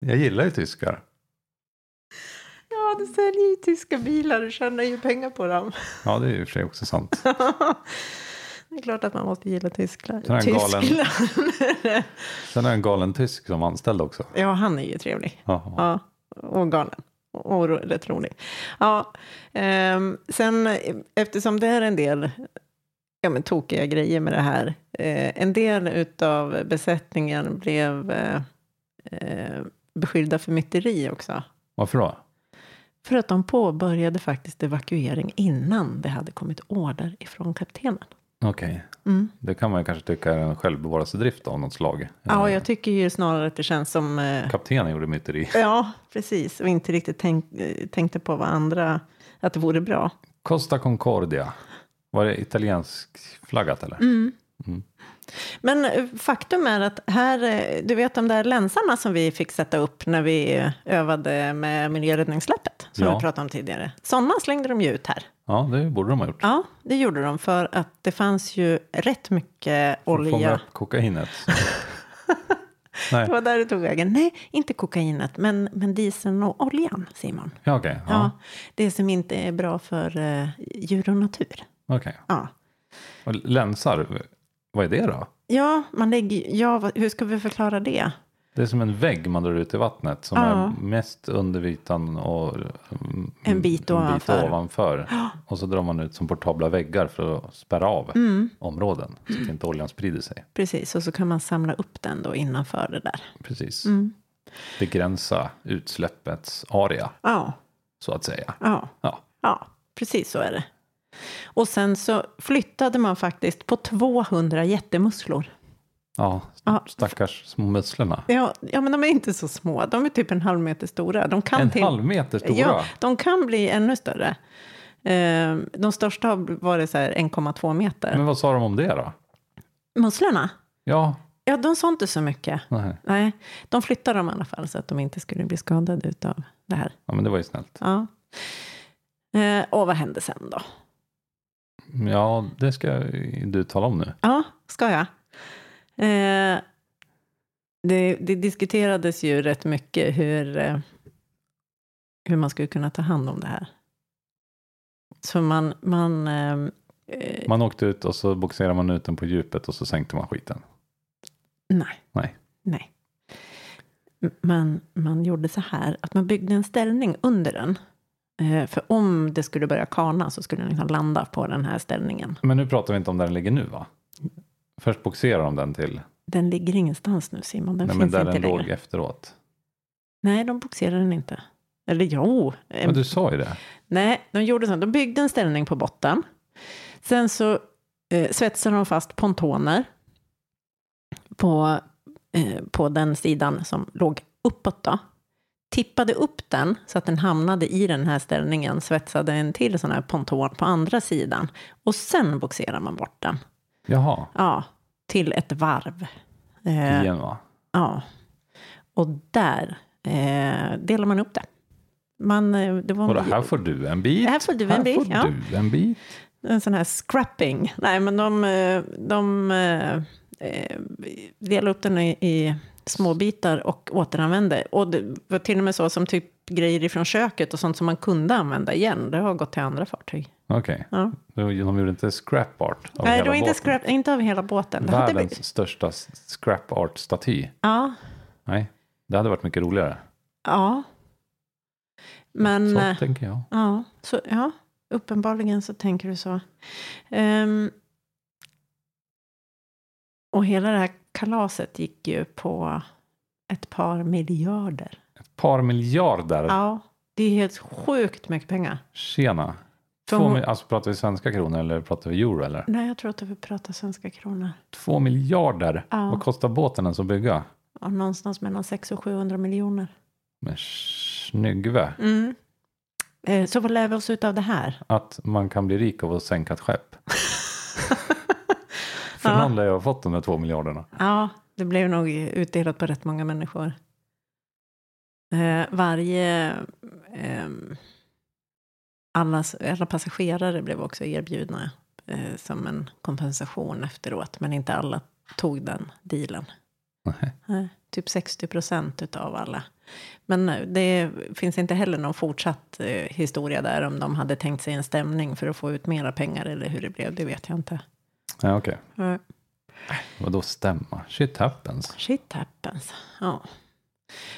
Speaker 1: Jag gillar ju tyskar.
Speaker 2: ja du säljer ju tyska bilar, du tjänar ju pengar på dem.
Speaker 1: Ja, det är ju i och för sig också sant.
Speaker 2: det är klart att man måste gilla Tyskland.
Speaker 1: Den här galen-
Speaker 2: Tyskland.
Speaker 1: Sen är det en galen tysk som anställd också.
Speaker 2: ja, han är ju trevlig.
Speaker 1: Ja,
Speaker 2: Ja, och galen. oroligt rolig. Ja, ehm, sen eh, eftersom det är en del ja, men, tokiga grejer med det här. Eh, en del av besättningen blev eh, eh, beskyllda för myteri också.
Speaker 1: Varför då?
Speaker 2: För att de påbörjade faktiskt evakuering innan det hade kommit order ifrån kaptenen.
Speaker 1: Okej,
Speaker 2: Mm.
Speaker 1: det kan man ju kanske tycka är en självbevarelsedrift av något slag. Eh,
Speaker 2: Ja, jag tycker ju snarare att det känns som... Eh,
Speaker 1: Kaptenen gjorde myteri.
Speaker 2: ja, precis. Och inte riktigt tänk, eh, tänkte på vad andra... Att det vore bra.
Speaker 1: Costa Concordia. Var det italiensk flaggat
Speaker 2: Mm.
Speaker 1: eller? Mm.
Speaker 2: Men eh, faktum är att här, eh, du vet de där länsarna som vi fick sätta upp när vi eh, övade med miljöräddningssläppet, som
Speaker 1: Ja.
Speaker 2: vi pratade om tidigare. Sådana slängde de ju ut här.
Speaker 1: Ja, det borde de ha gjort.
Speaker 2: Ja, det gjorde de för att det fanns ju rätt mycket
Speaker 1: För att Fånga
Speaker 2: olja.
Speaker 1: upp kokainet.
Speaker 2: Det var där det tog vägen. Nej, inte kokainet, men, men dieseln och oljan, Simon.
Speaker 1: Ja, okej.
Speaker 2: Ja.
Speaker 1: Ja,
Speaker 2: det som inte är bra för eh, djur och natur.
Speaker 1: okej.
Speaker 2: Ja.
Speaker 1: Och Länsar, vad är det då?
Speaker 2: Ja, man lägger, ja, vad- hur ska vi förklara det?
Speaker 1: Det är som en vägg man drar ut i vattnet som
Speaker 2: Ja.
Speaker 1: är mest under ytan och mm,
Speaker 2: En bit ovanför.
Speaker 1: ovanför. Och så drar man ut som portabla väggar för att spärra av
Speaker 2: Mm.
Speaker 1: områden så att inte oljan sprider sig.
Speaker 2: Precis, och så kan man samla upp den då innanför det där.
Speaker 1: Precis.
Speaker 2: Mm.
Speaker 1: Begränsa utsläppets area
Speaker 2: Ja,
Speaker 1: så att säga.
Speaker 2: ja,
Speaker 1: Ja,
Speaker 2: ja, precis så är det. Och sen så flyttade man faktiskt på 200 jättemusslor.
Speaker 1: ja.
Speaker 2: Ja.
Speaker 1: stackars små musslorna.
Speaker 2: Ja, ja, men de är inte så små. De är typ en halv meter stora. De kan
Speaker 1: En
Speaker 2: till...
Speaker 1: halv meter stora.
Speaker 2: Ja, de kan bli ännu större. Eh, De största har varit så här 1,2 meter.
Speaker 1: Men vad sa de om det då?
Speaker 2: Musslorna?
Speaker 1: Ja,
Speaker 2: Ja, de sa inte så mycket.
Speaker 1: nej.
Speaker 2: Nej, de flyttade dem i alla fall så att de inte skulle bli skadade utav det här.
Speaker 1: ja men det var ju snällt.
Speaker 2: Ja. Eh, Och vad hände sen då?
Speaker 1: Ja, det ska du tala om nu.
Speaker 2: Ja, ska jag? Eh, det, det diskuterades ju rätt mycket hur, eh, hur man skulle kunna ta hand om det här. Så man... man eh, eh,
Speaker 1: Man åkte ut och så boxerade man ut den på djupet och så sänkte man skiten.
Speaker 2: nej.
Speaker 1: Nej.
Speaker 2: Nej. M- Man, man gjorde så här, att man byggde en ställning under den. Eh, för om det skulle börja kana så skulle den liksom landa på den här ställningen.
Speaker 1: Men nu pratar vi inte om där den ligger nu va? Först boxerar de den till,
Speaker 2: Den ligger ingenstans nu, Simon. Den
Speaker 1: nej, men
Speaker 2: finns
Speaker 1: där
Speaker 2: inte
Speaker 1: den
Speaker 2: längre.
Speaker 1: låg efteråt.
Speaker 2: Nej, de boxerade den inte. Eller jo, eh, en
Speaker 1: Men du sa ju det.
Speaker 2: Nej, de gjorde så. De byggde en ställning på botten. Sen så eh, svetsade de fast pontoner på, eh, på den sidan som låg uppåt. Då. Tippade upp den så att den hamnade i den här ställningen. Svetsade en till sån här ponton på andra sidan. Och sen boxerade man bort den.
Speaker 1: Jaha,
Speaker 2: Ja, till ett varv. Eh,
Speaker 1: igen va?
Speaker 2: Ja. Och där eh, delar man upp det. Man, eh, det var en
Speaker 1: Och det
Speaker 2: bi-
Speaker 1: här får du en bit.
Speaker 2: Här får du en bit,
Speaker 1: Här får
Speaker 2: ja.
Speaker 1: du en bit.
Speaker 2: en sån här scrapping. Nej, men de, eh, de eh, eh, delar upp den i, i små bitar och återanvänder. Och det var till och med så som typ grejer ifrån köket och sånt som man kunde använda igen. Det har gått till andra fartyg.
Speaker 1: Okej,
Speaker 2: Ja.
Speaker 1: de de gjorde inte scrap art av
Speaker 2: Nej,
Speaker 1: hela
Speaker 2: det var inte,
Speaker 1: båten.
Speaker 2: scrap, inte av hela båten. Det hade
Speaker 1: Världens
Speaker 2: blivit,
Speaker 1: största scrap art-staty.
Speaker 2: ja,
Speaker 1: Nej, det hade varit mycket roligare.
Speaker 2: ja. Men...
Speaker 1: Så
Speaker 2: eh,
Speaker 1: tänker jag.
Speaker 2: Ja, så, ja, uppenbarligen så tänker du så. Ehm, och hela det här kalaset gick ju på ett par miljarder.
Speaker 1: Ett par miljarder.
Speaker 2: Ja, det är helt sjukt mycket pengar.
Speaker 1: Tjena.
Speaker 2: För
Speaker 1: Två,
Speaker 2: hon-
Speaker 1: mil- alltså pratar vi svenska kronor eller pratar vi euro eller?
Speaker 2: Nej, jag tror att vi pratar svenska kronor.
Speaker 1: Två miljarder.
Speaker 2: Ja.
Speaker 1: Vad kostar båten ens att bygga?
Speaker 2: Ja, någonstans mellan 600 och 700 miljoner.
Speaker 1: Men snyggve.
Speaker 2: Mm. Eh, Så vad lär vi oss av det här?
Speaker 1: Att man kan bli rik av att sänka ett skepp. För
Speaker 2: Ja.
Speaker 1: någon lär jag ha fått de där två miljarderna.
Speaker 2: Ja, det blev nog utdelat på rätt många människor. Eh, varje... ehm, alla, alla passagerare blev också erbjudna eh, som en kompensation efteråt, men inte alla tog den dealen.
Speaker 1: Nej.
Speaker 2: Nej, typ 60 procent av alla. Men eh, det finns inte heller någon fortsatt eh, historia där om de hade tänkt sig en stämning för att få ut mera pengar eller hur det blev, det vet jag inte.
Speaker 1: Ja, okej.
Speaker 2: Nej.
Speaker 1: Vadå stämma? Shit happens.
Speaker 2: Shit happens. Ja.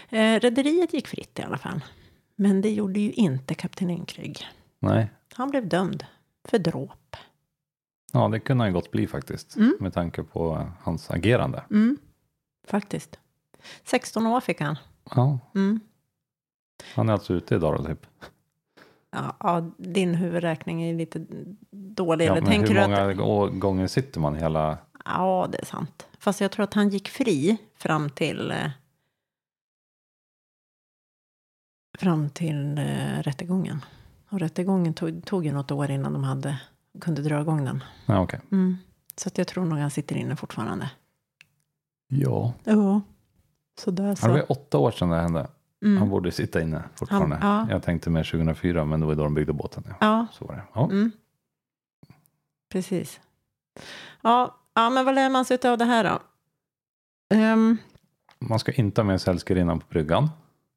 Speaker 2: Eh, Rederiet gick fritt i alla fall. Men det gjorde ju inte kapten Ynkrygg.
Speaker 1: Nej.
Speaker 2: Han blev dömd för dråp.
Speaker 1: Ja, det kunde han gott bli faktiskt.
Speaker 2: Mm.
Speaker 1: Med tanke på eh, hans agerande.
Speaker 2: Mm. Faktiskt. 16 år fick han.
Speaker 1: Ja,
Speaker 2: Mm.
Speaker 1: han är alltså ute idag då typ.
Speaker 2: Ja, ja, din huvudräkning är lite dålig.
Speaker 1: Ja,
Speaker 2: Eller
Speaker 1: men
Speaker 2: tänker
Speaker 1: hur
Speaker 2: du att...
Speaker 1: många å- gånger sitter man hela...
Speaker 2: Ja, det är sant. Fast jag tror att han gick fri fram till... eh, Fram till eh, rättegången. Och rättegången tog, tog ju något år innan de hade, kunde dra igång den.
Speaker 1: Ja, okej.
Speaker 2: Mm. Så att jag tror nog han sitter inne fortfarande.
Speaker 1: Ja.
Speaker 2: Ja. Så där så.
Speaker 1: Det var ju åtta år sedan det hände.
Speaker 2: Mm.
Speaker 1: Han borde sitta inne fortfarande.
Speaker 2: Han- ja.
Speaker 1: Jag tänkte med 2004, men det var ju då de byggde båten. Ja.
Speaker 2: Ja,
Speaker 1: Så var det. Ja.
Speaker 2: Mm. Precis. Ja, ja, men vad lär man sig av det här då? Ehm,
Speaker 1: Man ska inte ha med sig älskarinnan på bryggan.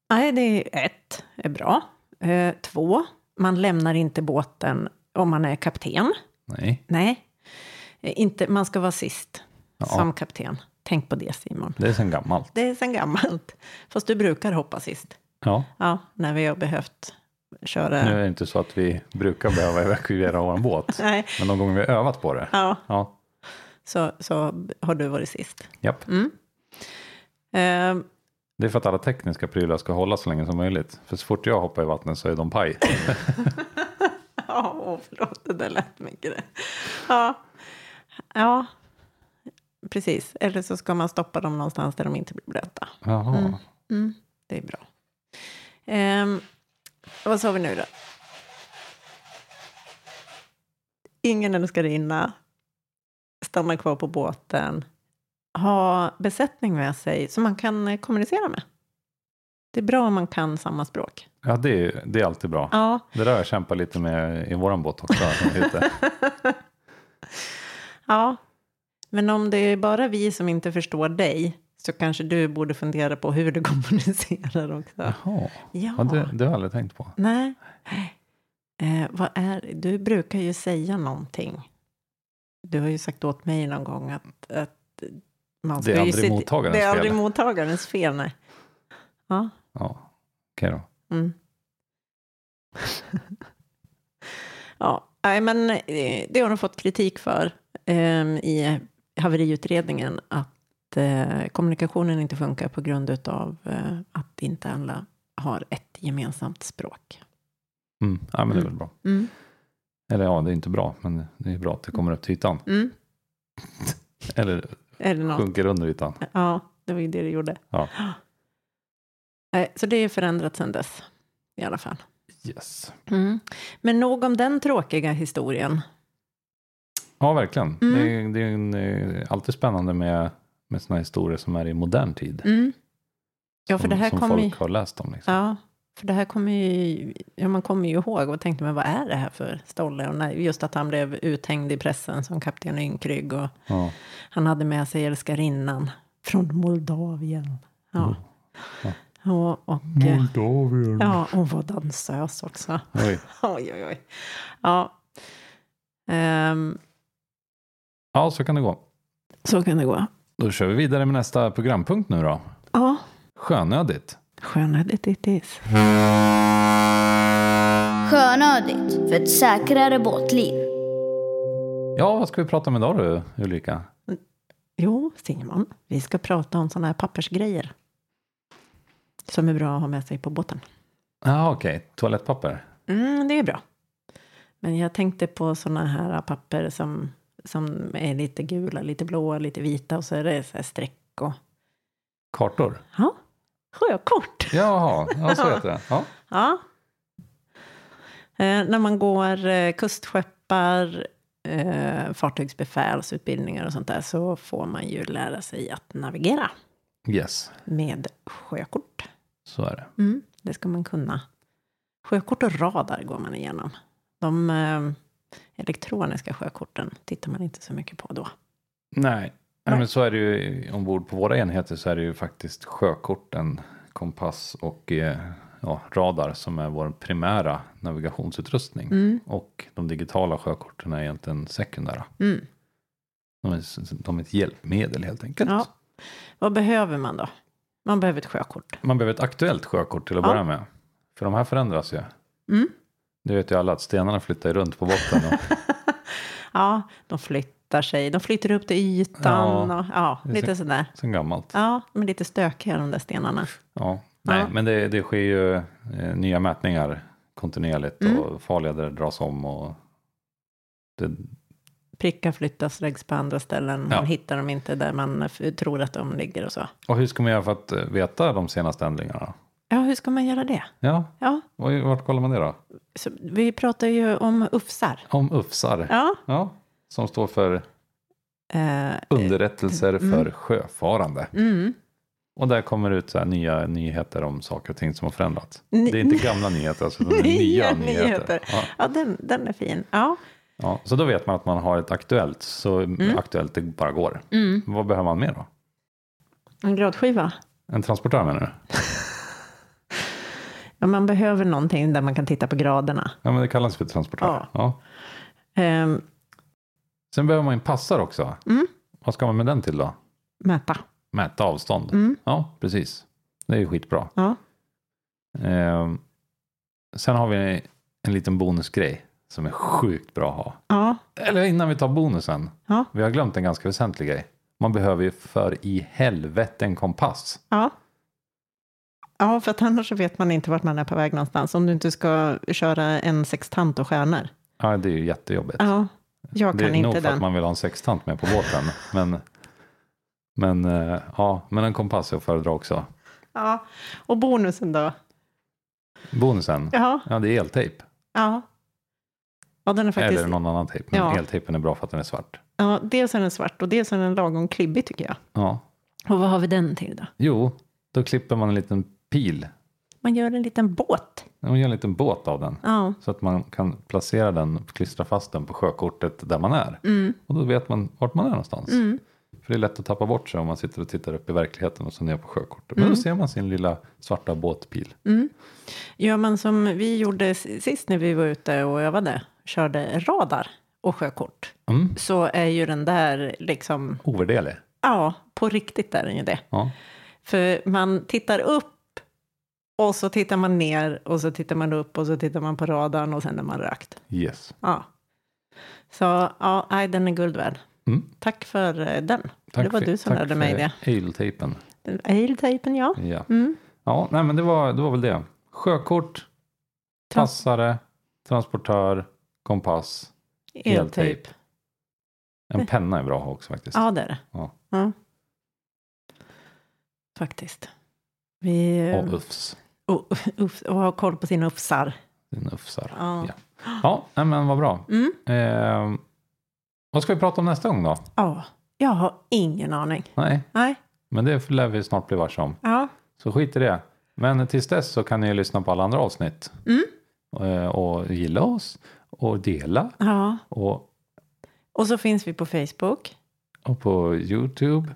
Speaker 2: nej, det är ett, är bra. Eh, två, man lämnar inte båten om man är kapten.
Speaker 1: Nej.
Speaker 2: Nej, Eh, inte, man ska vara sist
Speaker 1: Ja.
Speaker 2: som kapten. Tänk på det Simon.
Speaker 1: Det är sen gammalt.
Speaker 2: Det är sedan gammalt. Fast du brukar hoppa sist.
Speaker 1: Ja.
Speaker 2: Ja, när vi har behövt köra.
Speaker 1: Nu är det inte så att vi brukar behöva evakuera vår båt.
Speaker 2: Nej,
Speaker 1: Men de gånger vi har övat på det.
Speaker 2: ja,
Speaker 1: Ja.
Speaker 2: så, så har du varit sist.
Speaker 1: Japp.
Speaker 2: Mm. Ehm,
Speaker 1: Det är för att alla tekniska prylar ska hålla så länge som möjligt. För så fort jag hoppar i vattnet så är de paj.
Speaker 2: Ja, åh, förlåt, det där lät mycket det. Ja. ja, precis. Eller så ska man stoppa dem någonstans där de inte blir blöta.
Speaker 1: Jaha.
Speaker 2: Mm. Det är bra. Ehm, vad sa vi nu då? Ingen älskarinna. Stanna kvar på båten. Ha besättning med sig som man kan eh, kommunicera med. Det är bra om man kan samma språk.
Speaker 1: Ja, det är, det är alltid bra.
Speaker 2: Ja,
Speaker 1: Det där har jag kämpat lite med i våran båt också. som heter.
Speaker 2: Ja, men om det är bara vi som inte förstår dig så kanske du borde fundera på hur du kommunicerar också.
Speaker 1: Jaha.
Speaker 2: Ja,
Speaker 1: Ja, det, det har jag aldrig tänkt på.
Speaker 2: nej. Eh, vad är det? Du brukar ju säga någonting. Du har ju sagt åt mig någon gång att, att man
Speaker 1: Det är
Speaker 2: ska ju
Speaker 1: aldrig
Speaker 2: sitta-
Speaker 1: mottagarens
Speaker 2: Det är
Speaker 1: fel.
Speaker 2: aldrig mottagarens fel, nej. Ja,
Speaker 1: Ja. Okej då.
Speaker 2: Mm. ja, nej, men eh, det har de fått kritik för ehm, i haveriutredningen att eh, kommunikationen inte funkar på grund av eh, att inte alla har ett gemensamt språk.
Speaker 1: Mm. Ja, men det är väl bra.
Speaker 2: Mm.
Speaker 1: Eller ja, det är inte bra, men det är bra att det kommer upp till ytan.
Speaker 2: Mm.
Speaker 1: Eller
Speaker 2: Eller något.
Speaker 1: sjunker under ytan.
Speaker 2: Ja, det var ju det det gjorde.
Speaker 1: Ja.
Speaker 2: Nej, Så det är förändrat sedan dess i alla fall.
Speaker 1: Yes.
Speaker 2: Men nog om den tråkiga historien.
Speaker 1: Ja, verkligen.
Speaker 2: Mm.
Speaker 1: Det är, det är en, eh, alltid spännande med, med sådana historier som är i modern tid.
Speaker 2: Ja, för
Speaker 1: som,
Speaker 2: det här
Speaker 1: som
Speaker 2: kommer ju-
Speaker 1: folk har läst om. Liksom.
Speaker 2: Ja, för det här kommer ju, ja, man kommer ju ihåg och tänkte, men vad är det här för stolle? Och när, just att han blev uthängd i pressen som kapten Ynkrygg och
Speaker 1: Ja.
Speaker 2: han hade med sig älskarinnan från Moldavien. Ja. Och, och, eh,
Speaker 1: Moldavien.
Speaker 2: ja, hon var dansös också.
Speaker 1: Oj.
Speaker 2: Oj, oj, oj. Ja. Ehm,
Speaker 1: Ja, så kan det gå.
Speaker 2: så kan det gå.
Speaker 1: Då kör vi vidare med nästa programpunkt nu då.
Speaker 2: Ja,
Speaker 1: Sjönödigt.
Speaker 2: skönhet it is.
Speaker 4: Sjönödigt, för ett säkrare båtliv.
Speaker 1: Ja, vad ska vi prata om idag du, Ulrika?
Speaker 2: Jo, Simon, vi ska prata om sådana här pappersgrejer. Som är bra att ha med sig på båten.
Speaker 1: Ja, ah, okej. Toalettpapper.
Speaker 2: Mm, det är bra. Men jag tänkte på såna här papper som, som är lite gula, lite blåa, lite vita och så är det så här streck och...
Speaker 1: Kartor.
Speaker 2: Ja, sjökort.
Speaker 1: Jaha, ja, så heter det. Ja.
Speaker 2: Ja. Eh, när man går eh, kustskeppar, eh, fartygsbefälsutbildningar och sånt där så får man ju lära sig att navigera
Speaker 1: Yes,
Speaker 2: med sjökort.
Speaker 1: så är det.
Speaker 2: Mm, det ska man kunna. Sjökort och radar går man igenom. De eh, elektroniska sjökorten tittar man inte så mycket på då.
Speaker 1: Nej. Nej,
Speaker 2: Nej.
Speaker 1: men så är det ju ombord på våra enheter så är det ju faktiskt sjökorten, kompass och eh, ja, radar som är vår primära navigationsutrustning.
Speaker 2: Mm.
Speaker 1: Och de digitala sjökorten är egentligen sekundära.
Speaker 2: Mm.
Speaker 1: De är, s- de är ett hjälpmedel helt enkelt.
Speaker 2: Ja. Vad behöver man då? Man behöver ett sjökort.
Speaker 1: Man behöver ett aktuellt sjökort till att
Speaker 2: Ja.
Speaker 1: börja med. För de här förändras ju.
Speaker 2: Mm.
Speaker 1: Det vet ju alla att stenarna flyttar ju runt på botten. Och
Speaker 2: Ja, de flyttar sig, de flyttar upp till ytan
Speaker 1: Ja.
Speaker 2: och ja,
Speaker 1: Det är
Speaker 2: lite
Speaker 1: så-
Speaker 2: sådär.
Speaker 1: sen gammalt.
Speaker 2: Ja, de är lite stökiga de där stenarna.
Speaker 1: Ja. Nej,
Speaker 2: Ja.
Speaker 1: men det, det sker ju eh, nya mätningar kontinuerligt
Speaker 2: Mm.
Speaker 1: och farleder dras om och det,
Speaker 2: Prickar flyttas, läggs på andra ställen,
Speaker 1: Ja.
Speaker 2: man hittar dem inte där man f- tror att de ligger och så.
Speaker 1: Och hur ska man göra för att eh, veta de senaste ändringarna?
Speaker 2: Ja, hur ska man göra det?
Speaker 1: Ja,
Speaker 2: Ja,
Speaker 1: och i- vart kollar man det då?
Speaker 2: så, vi pratar ju om UFSar.
Speaker 1: Om UFSar. Ja.
Speaker 2: Ja,
Speaker 1: som står för
Speaker 2: eh,
Speaker 1: underrättelser
Speaker 2: Mm.
Speaker 1: för sjöfarande.
Speaker 2: mm.
Speaker 1: Och där kommer det ut så här nya nyheter om saker och ting som har förändrats.
Speaker 2: Ny-
Speaker 1: Det är inte gamla nyheter, alltså, utan det är
Speaker 2: Nya
Speaker 1: nya
Speaker 2: nyheter.
Speaker 1: nyheter. Ja,
Speaker 2: ja den, den är fin. Ja.
Speaker 1: ja. Så då vet man att man har ett aktuellt, så aktuellt det bara går. Vad behöver man mer då?
Speaker 2: En gradskiva.
Speaker 1: En transportör menar du?
Speaker 2: Ja, man behöver någonting där man kan titta på graderna.
Speaker 1: Ja, men det kallas för transportör.
Speaker 2: Ja.
Speaker 1: Ja.
Speaker 2: Ehm,
Speaker 1: Sen behöver man en passare också.
Speaker 2: Mm.
Speaker 1: Vad ska man med den till då?
Speaker 2: mäta.
Speaker 1: Mäta avstånd.
Speaker 2: Mm.
Speaker 1: Ja, precis. Det är ju skitbra.
Speaker 2: Ja.
Speaker 1: Ehm, sen har vi en liten bonusgrej som är sjukt bra att ha.
Speaker 2: Ja,
Speaker 1: Eller innan vi tar bonusen.
Speaker 2: Ja.
Speaker 1: Vi har glömt en ganska väsentlig grej. Man behöver ju för i helvete en kompass.
Speaker 2: ja. Ja, för att annars så vet man inte vart man är på väg någonstans. Om du inte ska köra en sextant och stjärnor.
Speaker 1: Ja, det är ju jättejobbigt.
Speaker 2: Ja, jag
Speaker 1: det är
Speaker 2: kan
Speaker 1: nog
Speaker 2: inte
Speaker 1: för att
Speaker 2: den.
Speaker 1: man vill ha en sextant med på båten. Men, men, eh, ja, men en kompass är att föredra också.
Speaker 2: Ja. Och bonusen då?
Speaker 1: Bonusen, ja,
Speaker 2: Ja,
Speaker 1: det är eltejp.
Speaker 2: ja. Ja, den är faktiskt...
Speaker 1: Eller någon annan tejp. Men
Speaker 2: Ja.
Speaker 1: eltejpen är bra för att den är svart.
Speaker 2: Ja, dels är den svart och dels är den lagom klibbig tycker jag.
Speaker 1: Ja.
Speaker 2: Och vad har vi den till då?
Speaker 1: Jo, då klipper man en liten pil.
Speaker 2: Man gör en liten båt.
Speaker 1: Man gör en liten båt av den.
Speaker 2: Ja,
Speaker 1: Så att man kan placera den, klistra fast den på sjökortet där man är.
Speaker 2: Mm.
Speaker 1: Och då vet man vart man är någonstans. För det är lätt att tappa bort sig om man sitter och tittar upp i verkligheten och så ner på sjökortet.
Speaker 2: Mm.
Speaker 1: Men då ser man sin lilla svarta båtpil.
Speaker 2: gör man som vi gjorde s- sist när vi var ute och övade, körde radar och sjökort,
Speaker 1: Mm.
Speaker 2: så är ju den där liksom,
Speaker 1: Ovärderlig.
Speaker 2: ja, på riktigt är den ju det.
Speaker 1: Ja.
Speaker 2: För man tittar upp och så tittar man ner och så tittar man upp och så tittar man på radarn och sen är man rökt.
Speaker 1: Yes.
Speaker 2: Ja. Så ja, nej, den är guld värd.
Speaker 1: Mm.
Speaker 2: Tack för eh, den. det var
Speaker 1: för-
Speaker 2: du som
Speaker 1: tack
Speaker 2: lärde mig
Speaker 1: för
Speaker 2: det.
Speaker 1: Ailtejpen.
Speaker 2: Ailtejpen, ja.
Speaker 1: Ja,
Speaker 2: Mm.
Speaker 1: ja nej, men det var, det var väl det. Sjökort, passare, transportör, kompass,
Speaker 2: Eltejp. Mm.
Speaker 1: En penna är bra att ha också faktiskt.
Speaker 2: Ja, det är det.
Speaker 1: Ja.
Speaker 2: Ja. Faktiskt. Vi, eh,
Speaker 1: Och UFS.
Speaker 2: och, uff, och ha koll på sina uppsar.
Speaker 1: Det är en UFSar.
Speaker 2: Ja.
Speaker 1: Ja. Ja, nej, men vad bra.
Speaker 2: Ah. Mm.
Speaker 1: Eh, vad ska vi prata om nästa gång då?
Speaker 2: ja, jag har ingen aning.
Speaker 1: Nej,
Speaker 2: Nej,
Speaker 1: men det lär vi snart bli varse om.
Speaker 2: ja,
Speaker 1: Så skit i det. Men tills dess så kan ni ju lyssna på alla andra avsnitt. Eh, och gilla oss och dela
Speaker 2: ja.
Speaker 1: och,
Speaker 2: Och så finns vi på Facebook.
Speaker 1: och på YouTube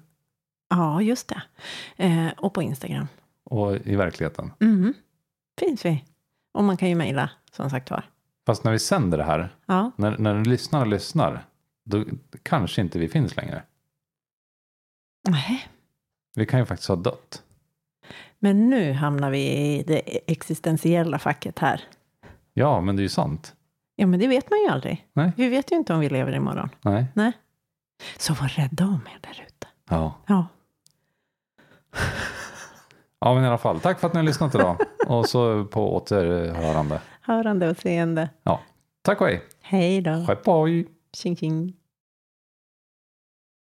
Speaker 2: Ja, just det. Eh, och på Instagram.
Speaker 1: och i verkligheten.
Speaker 2: Mm. Finns vi. Och man kan ju mejla, som sagt var.
Speaker 1: Fast när vi sänder det här,
Speaker 2: Ja,
Speaker 1: när, när lyssnarna lyssnar, då kanske inte vi finns längre.
Speaker 2: nej.
Speaker 1: Vi kan ju faktiskt ha dött.
Speaker 2: Men nu hamnar vi i det existentiella facket här.
Speaker 1: Ja, men det är ju sant.
Speaker 2: Ja, men det vet man ju aldrig.
Speaker 1: Nej.
Speaker 2: Vi vet ju inte om vi lever imorgon.
Speaker 1: Nej.
Speaker 2: Nej. Så var rädda om er där ute.
Speaker 1: Ja.
Speaker 2: Ja.
Speaker 1: ja, men i alla fall. Tack för att ni har lyssnat idag. Och så på återhörande.
Speaker 2: Hörande och seende.
Speaker 1: Ja. Tack och hej.
Speaker 2: Hej då.
Speaker 1: Hej på.
Speaker 2: Tjing tjing.